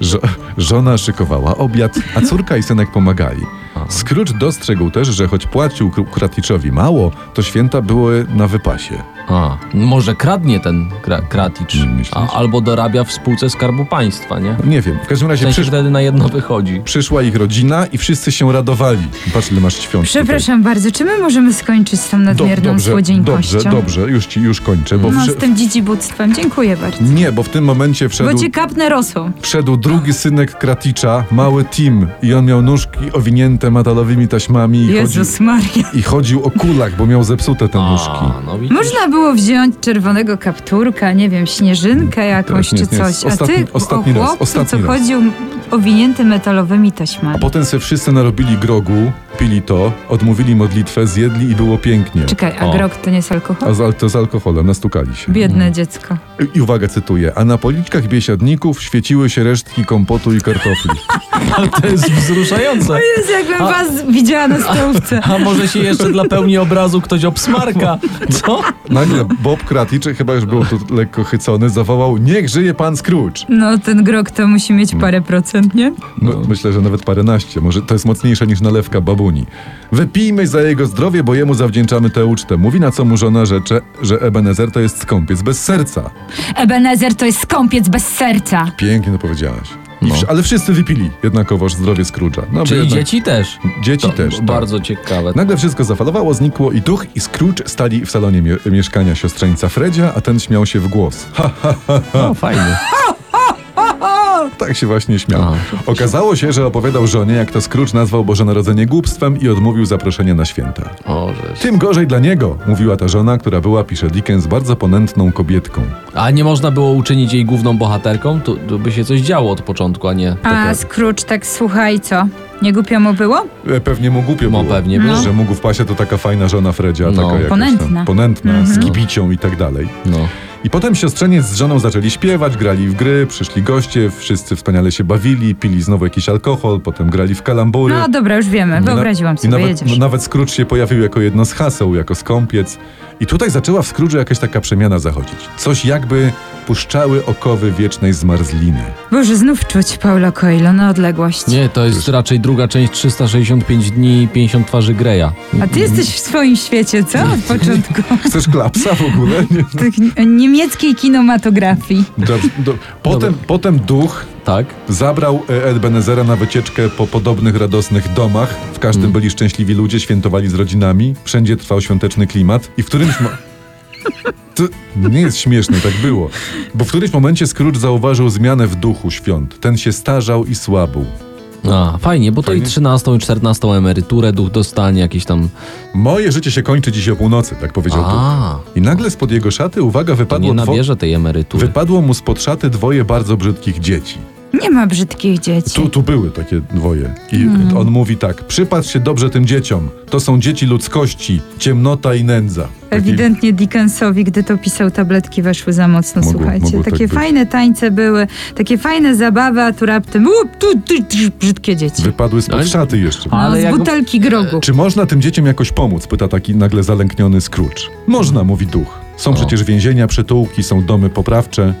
B: Żo- żona szykowała obiad, a córka i synek pomagali. Scrooge dostrzegł też, że choć płacił Kr- Kraticzowi mało, to święta były na wypasie.
D: A, może kradnie ten kra- kraticz,
B: Myślisz?
D: a, albo dorabia w spółce Skarbu Państwa, nie?
B: Nie wiem, w każdym
D: W
B: razie
D: sensie
B: przysz-
D: wtedy na jedno wychodzi.
B: przyszła ich rodzina i wszyscy się radowali. Patrz, ile masz świąt tutaj.
C: Przepraszam bardzo, czy my możemy skończyć z tą
B: Do-
C: nadmierną słodzieńkością?
B: dobrze, dobrze, już ci już kończę, bo
C: No,
B: wsze-
C: z tym dzidzibuctwem. Dziękuję bardzo.
B: nie, bo w tym momencie
C: Bo
B: wszedł,
C: cię kapnę rosą.
B: wszedł drugi synek Kraticza, mały Tim, i on miał nóżki owinięte metalowymi taśmami i, chodził,
C: Jezus Maria. <laughs>
B: i chodził o kulach, bo miał zepsute te nóżki.
D: A, no widzisz?
C: Można było wziąć czerwonego kapturka, nie wiem, śnieżynkę jakąś
B: nie,
C: czy
B: nie,
C: coś.
B: ostatni-
C: A ty
B: ostatni
C: o
B: raz,
C: chłopcu,
B: ostatni
C: co
B: raz.
C: chodził owinięty metalowymi taśmami.
B: A potem se wszyscy narobili grogu, pili to, odmówili modlitwę, zjedli i było pięknie.
C: Czekaj, a
D: O.
C: grog to nie jest alkohol?
B: A Mm. z, al- to z alkoholem nastukali się.
C: Biedne dziecko.
B: I- I uwaga, cytuję. A na policzkach biesiadników świeciły się resztki kompotu i kartofli.
D: Ale to jest wzruszające.
C: Jest jakbym was widziała na stołówce.
D: A może się jeszcze dla pełni obrazu ktoś obsmarka? Co?
B: Nagle Bob Kraticz, chyba już był tu lekko chycony, zawołał Niech żyje pan Scrooge!
C: No, ten grog to musi mieć
B: Mm.
C: parę procent, nie?
B: No, myślę, że nawet paręnaście, może to jest mocniejsze niż nalewka babuni. Wypijmy za jego zdrowie, bo jemu zawdzięczamy tę ucztę. Mówi na co mu żona rzecze, że Ebenezer to jest skąpiec bez serca.
C: Ebenezer to jest skąpiec bez serca.
B: Pięknie to powiedziałaś. I wsz- ale wszyscy wypili jednakowoż zdrowie Scrooge'a. No, bo
D: No. Czyli
B: jednak-
D: dzieci też.
B: dzieci też. tak.
D: Bardzo ciekawe.
B: Nagle wszystko zafalowało, znikło i duch i Scrooge stali w salonie mie- mieszkania siostrzeńca Fredzia, a ten śmiał się w głos. Ha, <laughs>
D: No, fajnie.
B: tak się właśnie śmiał.
D: Aha.
B: Okazało się, że opowiadał żonie, jak to Scrooge nazwał Boże Narodzenie głupstwem i odmówił zaproszenia na święta.
D: O, żeś.
B: Tym gorzej dla niego, mówiła ta żona, która była, pisze Dickens, bardzo ponętną kobietką.
D: A nie można było uczynić jej główną bohaterką? Tu, tu by się coś działo od początku, a nie...
C: A Scrooge tak słuchaj, co? Nie głupio mu było?
B: E, Pewnie mu głupio
D: No,
B: było,
D: pewnie było.
B: że mógł w pasie to taka fajna żona Fredzia,
D: No.
B: taka jakaś
C: Ponętna. Mhm.
B: Tam, ponętna z kibicią i tak dalej.
D: No.
B: I potem siostrzeniec z żoną zaczęli śpiewać, grali w gry, przyszli goście, wszyscy wspaniale się bawili, pili znowu jakiś alkohol, potem grali w kalambury.
C: No dobra, już wiemy,
B: I na-
C: wyobraziłam
B: I
C: sobie,
B: nawet,
C: jedziesz.
B: nawet Scrooge się pojawił jako jedno z haseł, jako skąpiec. I tutaj zaczęła w Scrooge'u jakaś taka przemiana zachodzić. Coś jakby puszczały okowy wiecznej zmarzliny.
C: Boże, znów czuć Paulo Coelho na odległość.
D: Nie, to jest raczej druga część 365 dni i 50 twarzy Greya.
C: A ty jesteś w swoim świecie, co? Od
B: <laughs>
C: początku.
B: Chcesz klapsa w ogóle? Nie.
C: Tych niemieckiej kinematografii.
B: Dobrze, do, potem, potem duch
D: Tak?
B: zabrał e, Ebenezera na wycieczkę po podobnych radosnych domach. W każdym byli szczęśliwi ludzie, świętowali z rodzinami. Wszędzie trwał świąteczny klimat. I w którymś... Mo- to nie jest śmieszne, tak było. Bo w którymś momencie Scrooge zauważył zmianę w duchu świąt. Ten się starzał i słabł.
D: A, No, fajnie, bo to
B: Fajnie.
D: i 13 i 14 emeryturę duch dostanie, jakieś tam...
B: Moje życie się kończy dziś o północy, tak powiedział duch.
D: A,
B: I nagle spod jego szaty, uwaga,
D: to nie
B: wypadło, dwo-
D: nabierze tej emerytury.
B: wypadło mu spod szaty dwoje bardzo brzydkich dzieci.
C: Nie ma brzydkich dzieci.
B: Tu, tu były takie dwoje. I
C: Mhm.
B: on mówi tak: przypatrz się dobrze tym dzieciom. To są dzieci ludzkości, ciemnota i nędza. Taki-
C: Ewidentnie Dickensowi, gdy to pisał, tabletki weszły za mocno,
B: Mogło-
C: słuchajcie.
B: mogło tak
C: takie
B: być.
C: fajne tańce były, takie fajne zabawy, a tu raptem up, tu, tu, tu, brzydkie dzieci.
B: Wypadły spod
D: Ale-
B: szaty jeszcze.
D: A-
C: No,
D: Ale
C: z
D: jak-
C: butelki grogu.
B: Czy można tym dzieciom jakoś pomóc? Pyta taki nagle zalękniony Scrooge. Można, mówi duch. Są przecież więzienia, przytułki, są domy poprawcze.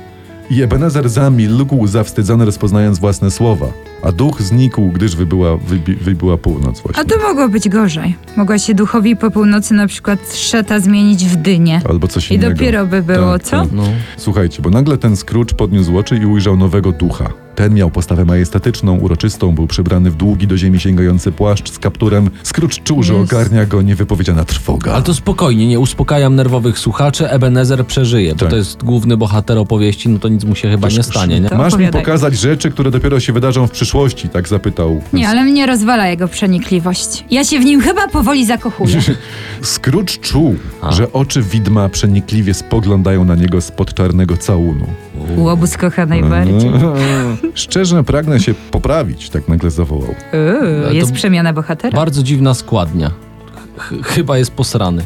B: I Ebenezer zamilkł, zawstydzony rozpoznając własne słowa. A duch znikł, gdyż wybyła, wybi, wybyła północ właśnie.
C: A to mogło być gorzej. Mogła się duchowi po północy na przykład szata zmienić w dynię.
B: Albo coś
C: I
B: innego.
C: dopiero by było,
B: Tak,
C: co?
B: tak.
D: No.
B: Słuchajcie, bo nagle ten Scrooge podniósł oczy i ujrzał nowego ducha. Ten miał postawę majestatyczną, uroczystą, był przebrany w długi do ziemi sięgający płaszcz z kapturem. Scrooge czuł, że
C: Jest.
B: ogarnia go niewypowiedziana trwoga.
D: Ale to spokojnie, nie uspokajam nerwowych słuchaczy, Ebenezer przeżyje, bo
B: Tak.
D: to jest główny bohater opowieści, no to nic mu się chyba nie stanie, nie?
C: to
B: Masz mi
C: opowiadaj.
B: pokazać rzeczy, które dopiero się wydarzą w przyszłości, tak zapytał.
C: Nie, ale mnie rozwala jego przenikliwość. Ja się w nim chyba powoli zakochuję.
B: Scrooge czuł,
D: A.
B: że oczy widma przenikliwie spoglądają na niego spod czarnego całunu.
C: Łobuz kocha najbardziej.
B: <laughs> No. Szczerze pragnę się poprawić, tak nagle zawołał.
C: Uuu,
D: Ale
C: Yy, jest
D: to-
C: przemiana bohatera.
D: Bardzo dziwna składnia. Ch- chyba jest posrany.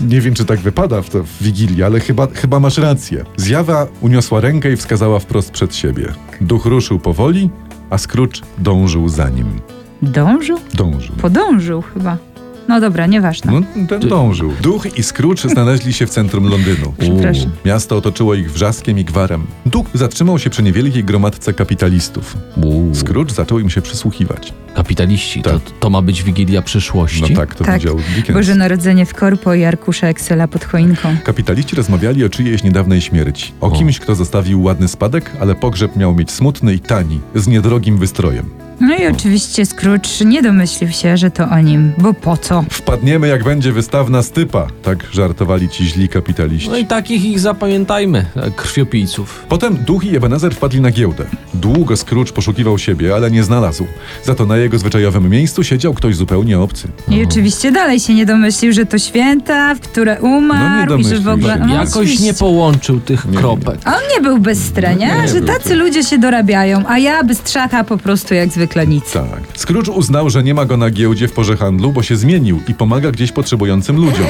B: Nie wiem, czy tak wypada w, to, w Wigilii, ale chyba, chyba masz rację. Zjawa uniosła rękę i wskazała wprost przed siebie. Duch ruszył powoli, a Scrooge dążył za nim.
C: Dążył?
B: Dążył.
C: Podążył chyba. No dobra, nieważne.
B: No, ten dążył. Duch i Scrooge znaleźli się w centrum Londynu.
C: <laughs> Przepraszam.
B: U, Miasto otoczyło ich wrzaskiem i gwarem. Duch zatrzymał się przy niewielkiej gromadce kapitalistów. Scrooge zaczął im się przysłuchiwać.
D: Kapitaliści, to,
B: Tak.
D: to ma być Wigilia przyszłości.
B: No tak, to
C: Tak.
B: powiedział Dickens.
C: Boże Narodzenie w korpo i arkusze Excela pod choinką.
B: Kapitaliści rozmawiali o czyjejś niedawnej śmierci. O
D: O.
B: kimś, kto zostawił ładny spadek, ale pogrzeb miał mieć smutny i tani, z niedrogim wystrojem.
C: No i oczywiście Scrooge nie domyślił się, że to o nim, bo po co?
B: Wpadniemy, jak będzie wystawna stypa, tak żartowali ci źli kapitaliści.
D: No i takich ich zapamiętajmy, e, krwiopijców.
B: Potem Duch i Ebenezer wpadli na giełdę. Długo Scrooge poszukiwał siebie, ale nie znalazł. Za to na jego zwyczajowym miejscu siedział ktoś zupełnie obcy.
C: I oczywiście dalej się nie domyślił, że to święta, w które umarł
B: No nie
C: i że w
B: domyślił
C: ogóle...
B: się.
C: No,
D: Jakoś
C: oczywiście.
D: nie połączył tych
B: nie.
D: kropek.
C: A on nie był bezstry, nie?
B: Nie
C: że
B: był tak.
C: tacy
B: tym.
C: ludzie się dorabiają, a ja bystrzacha po prostu jak zwykle nic.
B: Tak. Scrooge uznał, że nie ma go na giełdzie w porze handlu, bo się zmienił i pomaga gdzieś potrzebującym ludziom.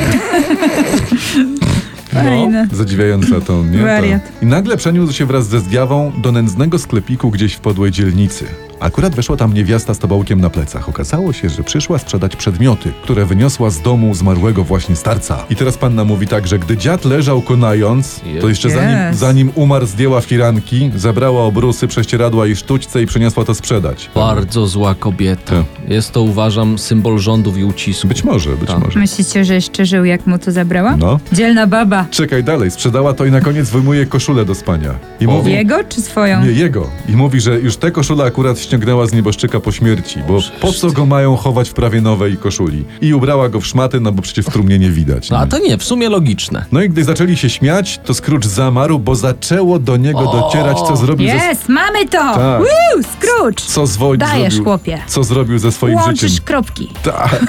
B: Tak.
C: Fajne.
B: Zadziwiająca to, nie?
C: Wariat.
B: To- I nagle przeniósł się wraz ze zjawą do nędznego sklepiku gdzieś w podłej dzielnicy. Akurat weszła tam niewiasta z tobołkiem na plecach. Okazało się, że przyszła sprzedać przedmioty, które wyniosła z domu zmarłego właśnie starca. I teraz panna mówi tak, że gdy dziad leżał konając, to jeszcze zanim,
C: Yes.
B: zanim umarł zdjęła firanki, zabrała obrusy, prześcieradła i sztućce i przyniosła to sprzedać.
D: Bardzo zła kobieta.
B: Tak.
D: Jest to, uważam, symbol rządów i ucisku.
B: Być może, być
D: Tak.
B: może.
C: Myślicie, że jeszcze żył, jak mu to zabrała?
B: No.
C: Dzielna baba.
B: Czekaj dalej, sprzedała to i na koniec wyjmuje koszulę do spania. I
D: O.
B: mówi,
C: Jego czy swoją?
B: Nie jego. I mówi, że już tę koszulę akurat ściągnęła z nieboszczyka po śmierci, bo po co go mają chować w prawie nowej koszuli? I ubrała go w szmaty, no bo przecież w trumnie nie widać.
D: No,
B: nie?
D: a to nie, w sumie logiczne.
B: No i gdy zaczęli się śmiać, to Scrooge zamarł, bo zaczęło do niego docierać, co zrobił ze...
C: Jest, mamy to!
B: Tak.
C: Woo, Scrooge!
B: Co z Wojt
C: Dajesz,
B: zrobił,
C: chłopie.
B: Co zrobił ze swoim
C: Łączysz
B: życiem.
C: kropki. <laughs>
B: Tak.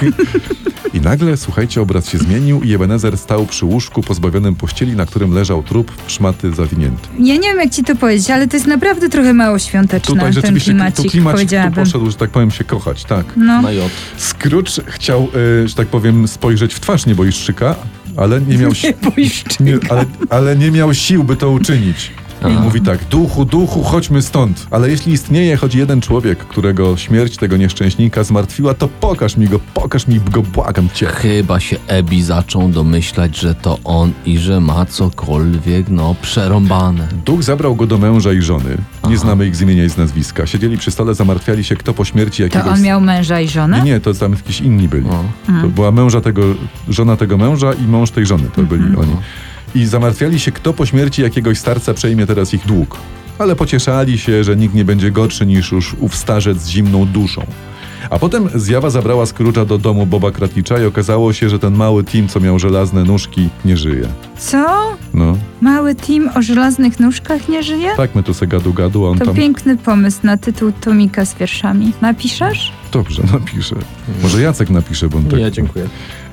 B: I nagle, słuchajcie, obraz się zmienił i Ebenezer stał przy łóżku pozbawionym pościeli, na którym leżał trup, w szmaty zawinięty.
C: Ja nie wiem, jak ci to powiedzieć, ale to jest naprawdę trochę mało świąteczne,
B: Tutaj
C: ten
B: rzeczywiście
C: klimacik,
B: tu klimacik tu
C: powiedziałabym.
B: poszedł, że tak powiem, się kochać, tak.
C: No,
D: Na J.
B: Scrooge chciał, e, że tak powiem, spojrzeć w twarz nieboiszczyka, ale nie miał, si- nie, ale, ale nie miał sił, by to uczynić. I
D: Aha.
B: mówi tak, duchu, duchu, chodźmy stąd. Ale jeśli istnieje choć jeden człowiek, którego śmierć tego nieszczęśnika zmartwiła, to pokaż mi go, pokaż mi go, błagam cię.
D: Chyba się Ebi zaczął domyślać, że to on i że ma cokolwiek, no, przerąbane.
B: Duch zabrał go do męża i żony. Nie
D: Aha.
B: znamy ich z imienia i z nazwiska. Siedzieli przy stole, zamartwiali się, kto po śmierci
C: to
B: jakiegoś...
C: on miał męża i żonę?
B: Nie, nie, to tam jakiś inni byli.
D: No.
B: To była męża tego, żona tego męża i mąż tej żony, to byli oni. I zamartwiali się, kto po śmierci jakiegoś starca przejmie teraz ich dług. Ale pocieszali się, że nikt nie będzie gorszy niż już ów starzec z zimną duszą. A potem zjawa zabrała Scrooge'a do domu Boba Kratlicza i okazało się, że ten mały Tim, co miał żelazne nóżki, nie żyje.
C: Co?
B: No,
C: Mały team o żelaznych nóżkach nie żyje?
B: tak my tu se gadu gadu, a on
C: To
B: tam...
C: piękny pomysł na tytuł Tomika z wierszami. Napiszesz?
B: Dobrze, napisze. Może Jacek napisze, bo on tak...
D: dziękuję.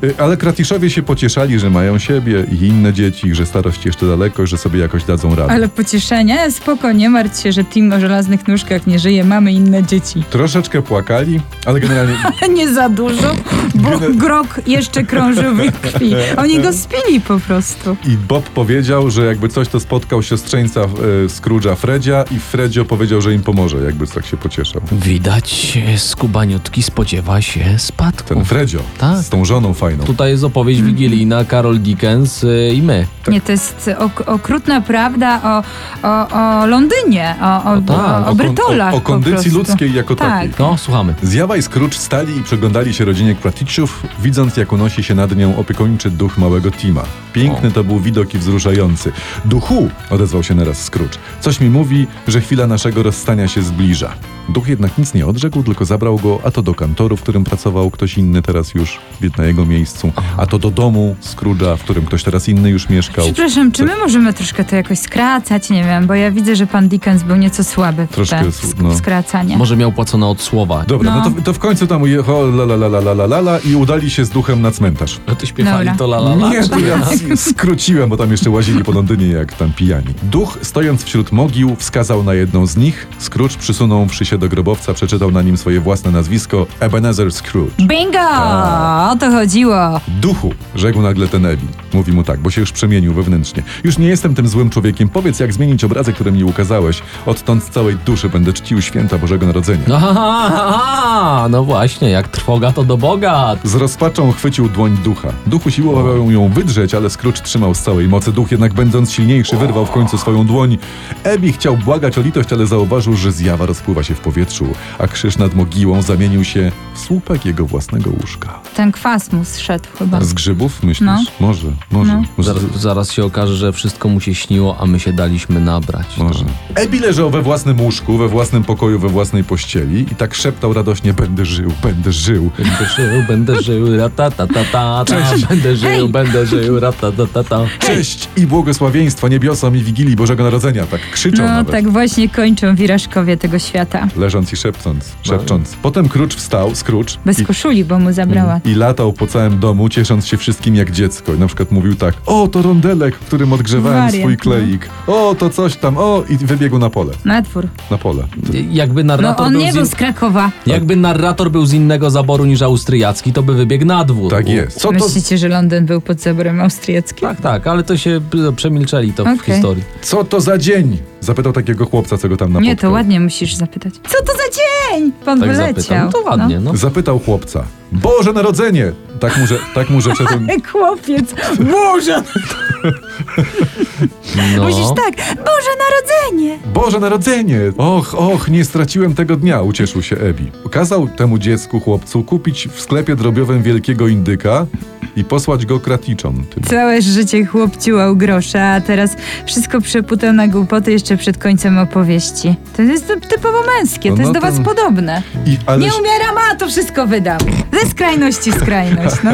B: Y, Ale Kratiszowie się pocieszali, że mają siebie i inne dzieci, że starość jeszcze daleko i że sobie jakoś dadzą radę.
C: Ale pocieszenie, spoko, nie martw się, że team o żelaznych nóżkach nie żyje, mamy inne dzieci. <laughs>
B: Troszeczkę płakali, ale generalnie
C: Nie za dużo, bo grok jeszcze krążył w ich krwi. Oni go spili po prostu.
B: i Bob powiedział, że jakby coś to spotkał siostrzeńca e, Scrooge'a Fredzia i Fredzio powiedział, że im pomoże, jakby tak się pocieszał.
D: Widać, e, Skuba Aniutki spodziewa się spadku.
B: Ten Fredzio
D: Tak.
B: z tą żoną fajną.
D: Tutaj jest opowieść wigilijna, Karol Dickens y, i my.
C: Nie, to jest ok- okrutna prawda o, o, o Londynie, o, o,
D: tak, o
C: o,
D: kon-
C: o Brytolach.
B: o, o
C: po
B: kondycji
C: prostu.
B: ludzkiej jako
C: Tak.
B: takiej.
D: No, słuchamy.
B: Zjawa i Scrooge stali i przeglądali się rodzinie Kraticów, widząc jak unosi się nad nią opiekuńczy duch małego Tima. Piękny to był widok i wzruszający. Duchu! odezwał się naraz Scrooge. Coś mi mówi, że chwila naszego rozstania się zbliża. Duch jednak nic nie odrzekł, tylko zabrał go a to do kantoru, w którym pracował ktoś inny teraz już na jego miejscu, a to do domu Scrooge'a, w którym ktoś teraz inny już mieszkał.
C: Przepraszam, czy my możemy troszkę to jakoś skracać? Nie wiem, bo ja widzę, że pan Dickens był nieco słaby w
B: Troszkę
C: te
B: sł-
C: sk-
B: no.
C: skracanie.
D: Może miał płacone od słowa.
B: Dobra, no,
C: No.
B: to, to w końcu tam ujechało la la la la la la la i udali się z duchem na cmentarz.
D: No to śpiewali
C: Dobra.
D: to la la la.
B: Nie, to ja skróciłem, bo tam jeszcze łazili po Londynie jak tam pijani. Duch, stojąc wśród mogił, wskazał na jedną z nich. Scrooge przysunąwszy się do grobowca, przeczytał na nim swoje własne nazwisko Ebenezer Scrooge.
C: Bingo! O to chodziło.
B: Duchu, rzekł nagle ten Ebi. Mówi mu tak, bo się już przemienił wewnętrznie. Już nie jestem tym złym człowiekiem. Powiedz, jak zmienić obrazy, które mi ukazałeś. Odtąd z całej duszy będę czcił święta Bożego Narodzenia.
D: No, ha, ha, ha, ha. no właśnie, jak trwoga to do Boga.
B: Z rozpaczą chwycił dłoń ducha. Duch usiłował ją wydrzeć, ale Scrooge trzymał z całej mocy. Duch jednak będąc silniejszy wyrwał w końcu swoją dłoń. Ebi chciał błagać o litość, ale zauważył, że zjawa rozpływa się w powietrzu, a krzyż nad mogiłą zamienił się w słupek jego własnego łóżka.
C: Ten kwas mu zszedł chyba.
B: Z grzybów, myślisz?
C: No.
B: Może, może. może.
D: Zaraz, zaraz się okaże, że wszystko mu się śniło, a my się daliśmy nabrać.
B: Może. Ebi leżał we własnym łóżku, we własnym pokoju, we własnej pościeli i tak szeptał radośnie: Będę żył, będę żył.
D: Będę żył, będę żył, ratatatata,
B: Cześć.
D: będę żył,
C: Hej.
D: będę żył, ratatatata.
B: Cześć i błogosławieństwo niebiosom i Wigilii Bożego Narodzenia. Tak krzyczał
C: No
B: nawet.
C: tak właśnie kończą wirażkowie tego świata.
B: leżąc i szepcząc, szepcząc. Potem Krucz wstał, Scrooge,
C: Bez
B: i, Mm.
C: koszuli, bo mu zabrała.
B: i latał po całym domu, ciesząc się wszystkim jak dziecko. I na przykład mówił tak, o, to rondelek, w którym odgrzewałem
C: Wariant,
B: swój
C: no.
B: kleik. O, to coś tam, o, i wybiegł na pole,
C: Na dwór.
B: na pole.
D: Jakby
C: No
D: narrator,
C: on
D: był
C: nie
D: z
C: był
D: in...
C: z Krakowa.
D: Jakby narrator był z innego zaboru niż austriacki, to by wybiegł na dwór.
B: Tak jest. Co to,
C: Myślicie, że Londyn był pod zaborem austriackim?
D: Tak, tak, ale to się p- przemilczeli to w
C: Okej.
D: historii.
B: co to za dzień? Zapytał takiego chłopca, co go tam napotkał.
C: Nie, to ładnie musisz zapytać. Co to za dzień? Pan
D: Tak
C: wyleciał.
D: zapytam. To ładnie, no.
B: Zapytał chłopca, Boże Narodzenie! Tak mu, że, tak mu rzeczy... <laughs>
C: No. Chłopiec, Boże!
D: no.
C: Musisz tak, Boże Narodzenie!
B: Boże Narodzenie! Och, och, nie straciłem tego dnia, ucieszył się Ebi. Kazał temu dziecku, chłopcu, kupić w sklepie drobiowym wielkiego indyka i posłać go kraticzom. Tym.
C: Całe życie chłop ciłał grosze, a teraz wszystko przeputał na głupoty jeszcze przed końcem opowieści. To jest typowo męskie,
B: No,
C: to jest
B: no
C: do was
B: to-
C: podobne.
B: I, ale
C: Nie umieram, a to wszystko wydam. Ze skrajności w skrajność,
B: <laughs>
C: no.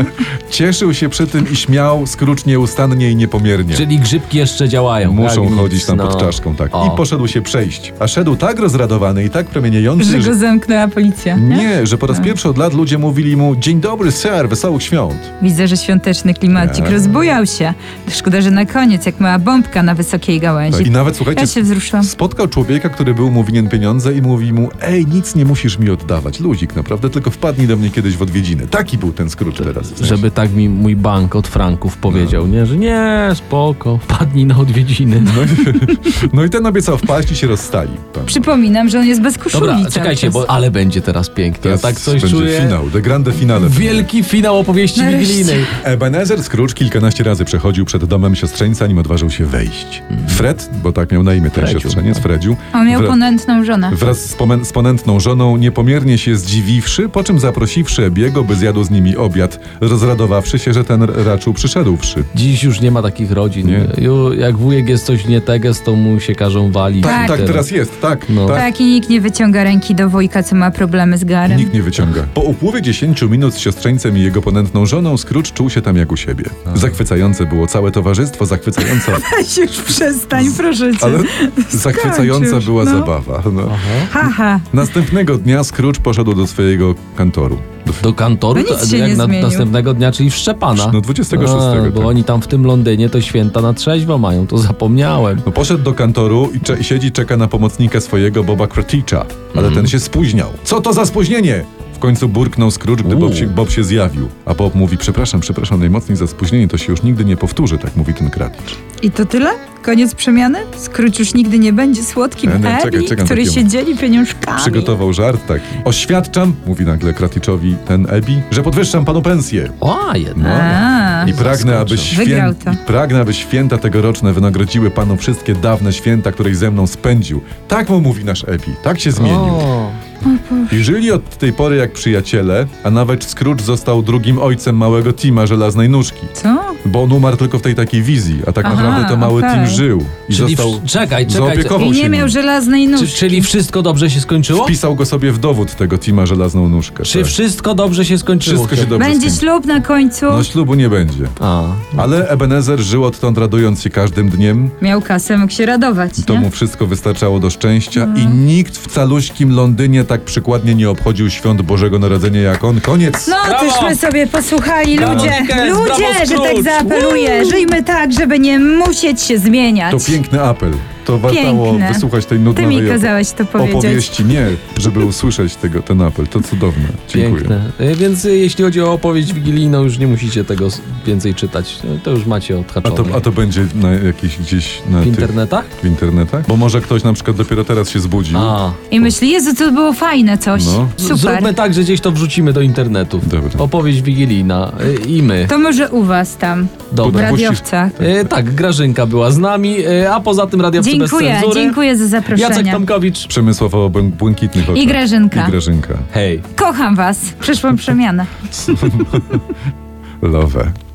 B: cieszył się przy tym i śmiał, skrócz nieustannie i niepomiernie.
D: Czyli grzybki jeszcze działają.
B: Muszą
D: tak? Nic,
B: chodzić tam
D: no.
B: pod czaszką, tak.
D: O.
B: I poszedł się przejść. A szedł tak rozradowany i tak
C: Że
B: promieniejący,
C: go zamknęła policja.
B: Nie, że po raz pierwszy od lat ludzie mówili mu Dzień dobry, ser, wesołych świąt.
C: Widzę, że świąteczny klimacik
B: Nie.
C: rozbujał się. Szkoda, że na koniec, jak mała bombka na wysokiej gałęzi.
B: Tak. I nawet, słuchajcie,
C: Ja się wzruszyłam.
B: Spotkał człowieka, który był mu winien pieniądze i mówi mu, ej, nic nie musisz mi oddawać, luzik, naprawdę, tylko wpadnij do mnie kiedyś w odwiedziny. Taki był ten Scrooge teraz. w sensie.
D: Żeby tak mi mój bank od franków powiedział, nie? Że nie, spoko, wpadnij na odwiedziny.
B: No i ten obiecał wpaść i się rozstali. Pan.
C: Przypominam, że on jest bez koszuli.
D: Dobra,
C: cały
D: czekajcie,
C: czas.
D: bo ale będzie teraz pięknie.
B: Teraz
D: ja tak coś
B: będzie
D: czuję.
B: finał, the grande finale.
D: Wielki finał opowieści
C: Nareszcie.
D: wigilijnej.
B: Ebenezer Scrooge kilkanaście razy przechodził przed domem siostrzeńca, nim odważył się wejść. Fred, bo tak miał na imię ten
D: Mm. Fredziu.
B: siostrzeniec, Fredziu,
C: On miał
B: wra-
C: ponętną żonę.
B: wraz z, pomen- z ponętną żoną niepomiernie się zdziwiwszy, po czym zaprosiwszy Ebiego, by zjadł z nimi obiad, rozradowawszy się, że ten raczył przyszedłszy.
D: Dziś już nie ma takich rodzin.
B: Nie.
D: Ju, jak wujek jest coś nie teges, to mu się każą walić.
B: Tak, tak,
C: Tak.
B: teraz jest, tak,
D: No.
B: tak.
C: Tak, i nikt nie wyciąga ręki do wujka, co ma problemy z garem.
B: Nikt nie wyciąga. Po upływie 10 minut z siostrzeńcem i jego ponętną żoną, Scrooge czuł się tam jak u siebie. Zachwycające było całe towarzystwo, zachwycająca,
C: Weź już przestań, proszę cię.
B: ale zachwycająca
C: już,
B: była
C: no.
B: zabawa. No.
C: Haha.
B: Następnego dnia Scrooge poszedł do swojego kantoru. Do
D: Do kantoru
C: No nic
D: to-
C: się
D: jak
C: nie
D: na,
C: zmienił.
D: następnego dnia, czyli w Szczepana.
B: No, 26,
D: A, bo
B: tak.
D: oni tam w tym Londynie to święta na trzeźwo mają, to zapomniałem.
B: No poszedł do kantoru i, cze- i siedzi, czeka na pomocnika swojego Boba Kraticza, ale
D: Mhm.
B: ten się spóźniał. Co to za spóźnienie? W końcu burknął Scrooge, gdy
D: Uuu.
B: Bob się, Bob się zjawił. A Bob mówi, przepraszam, przepraszam najmocniej za spóźnienie, to się już nigdy nie powtórzy, tak mówi ten Kraticz.
C: I to tyle? Koniec przemiany? Skróć już nigdy nie będzie słodkim
B: Nie, nie,
C: Eli,
B: E, no, czekaj, czekam
C: który
B: takiego.
C: się dzieli pieniążkami.
B: Przygotował żart taki. Oświadczam, mówi nagle Kraticzowi ten Ebi, że podwyższam panu pensję. No.
D: O, jednak.
C: A,
B: I pragnę, aby
D: Zaskoczył.
B: świę...
C: Wygrał to.
B: I pragnę, aby święta tegoroczne wynagrodziły panu wszystkie dawne święta, któreś ze mną spędził. Tak mu mówi nasz Ebi, tak się zmienił.
D: O.
B: I żyli od tej pory jak przyjaciele, a nawet Scrooge został drugim ojcem małego Tima żelaznej nóżki.
C: co?
B: Bo on umarł tylko w tej takiej wizji, a tak
C: Aha,
B: naprawdę to mały
C: okej.
B: Tim żył. I
D: Czyli
B: został.
D: w... czekaj, czekaj.
B: zaopiekował
C: I
B: się
C: nie
B: nim.
C: miał żelaznej
D: Czy,
C: nóżki.
D: czyli wszystko dobrze się skończyło?
B: Wpisał go sobie w dowód tego Tima żelazną nóżkę.
D: Czy
B: tak.
D: wszystko dobrze się skończyło?
B: Wszystko się dobrze
C: Będzie
B: skończy.
C: ślub na końcu.
B: No ślubu nie będzie.
D: A,
B: Ale Ebenezer żył odtąd radując się każdym dniem.
C: Miał kasę, mógł się radować.
B: To
C: nie? Mm.
B: mu wszystko wystarczało do szczęścia i nikt w caluśkim Londynie tak przykładnie nie obchodził świąt Bożego Narodzenia jak on. Koniec!
C: No,
D: Brawo!
C: tośmy sobie posłuchali
D: Brawo,
C: ludzie.
D: Dickens, brawo,
C: ludzie, że tak
D: Scrooge!
C: zaapeluję. Żyjmy tak, żeby nie musieć się zmieniać.
B: To piękny apel. To wartało
C: Piękne.
B: wysłuchać tej
C: Ty mi
B: nudnej
C: kazałeś to powiedzieć.
B: opowieści. Nie, żeby usłyszeć tego, ten apel. To cudowne. Dziękuję.
D: piękne. Y, Więc y, jeśli chodzi o opowieść wigilijną, już nie musicie tego s- więcej czytać. Y, To już macie
B: A
D: odhaczone.
B: to, a to będzie na jakiś gdzieś na
D: W
B: tych-
D: internetach?
B: w internetach? Bo może ktoś na przykład dopiero teraz się zbudził.
D: A.
C: I myśli, Jezu, to było fajne coś.
B: No.
D: Z-
C: Super.
D: Zróbmy tak, że gdzieś to wrzucimy do internetu.
B: Dobra.
D: Opowieść wigilijna y, i my.
C: To może u was tam, w
D: Dobra.
B: Puścisz-
C: radiowcach.
D: Y, tak, Grażynka była z nami, y, a poza tym radiowcy bez
C: Dziękuję,
D: cenzury.
C: dziękuję za zaproszenie.
D: Jacek Tomkowicz.
B: Przemysław o błę- błękitnych oczach.
C: I Grażynka.
B: I Grażynka.
D: Hej.
C: Kocham was. Przyszłam przemianę.
B: Love.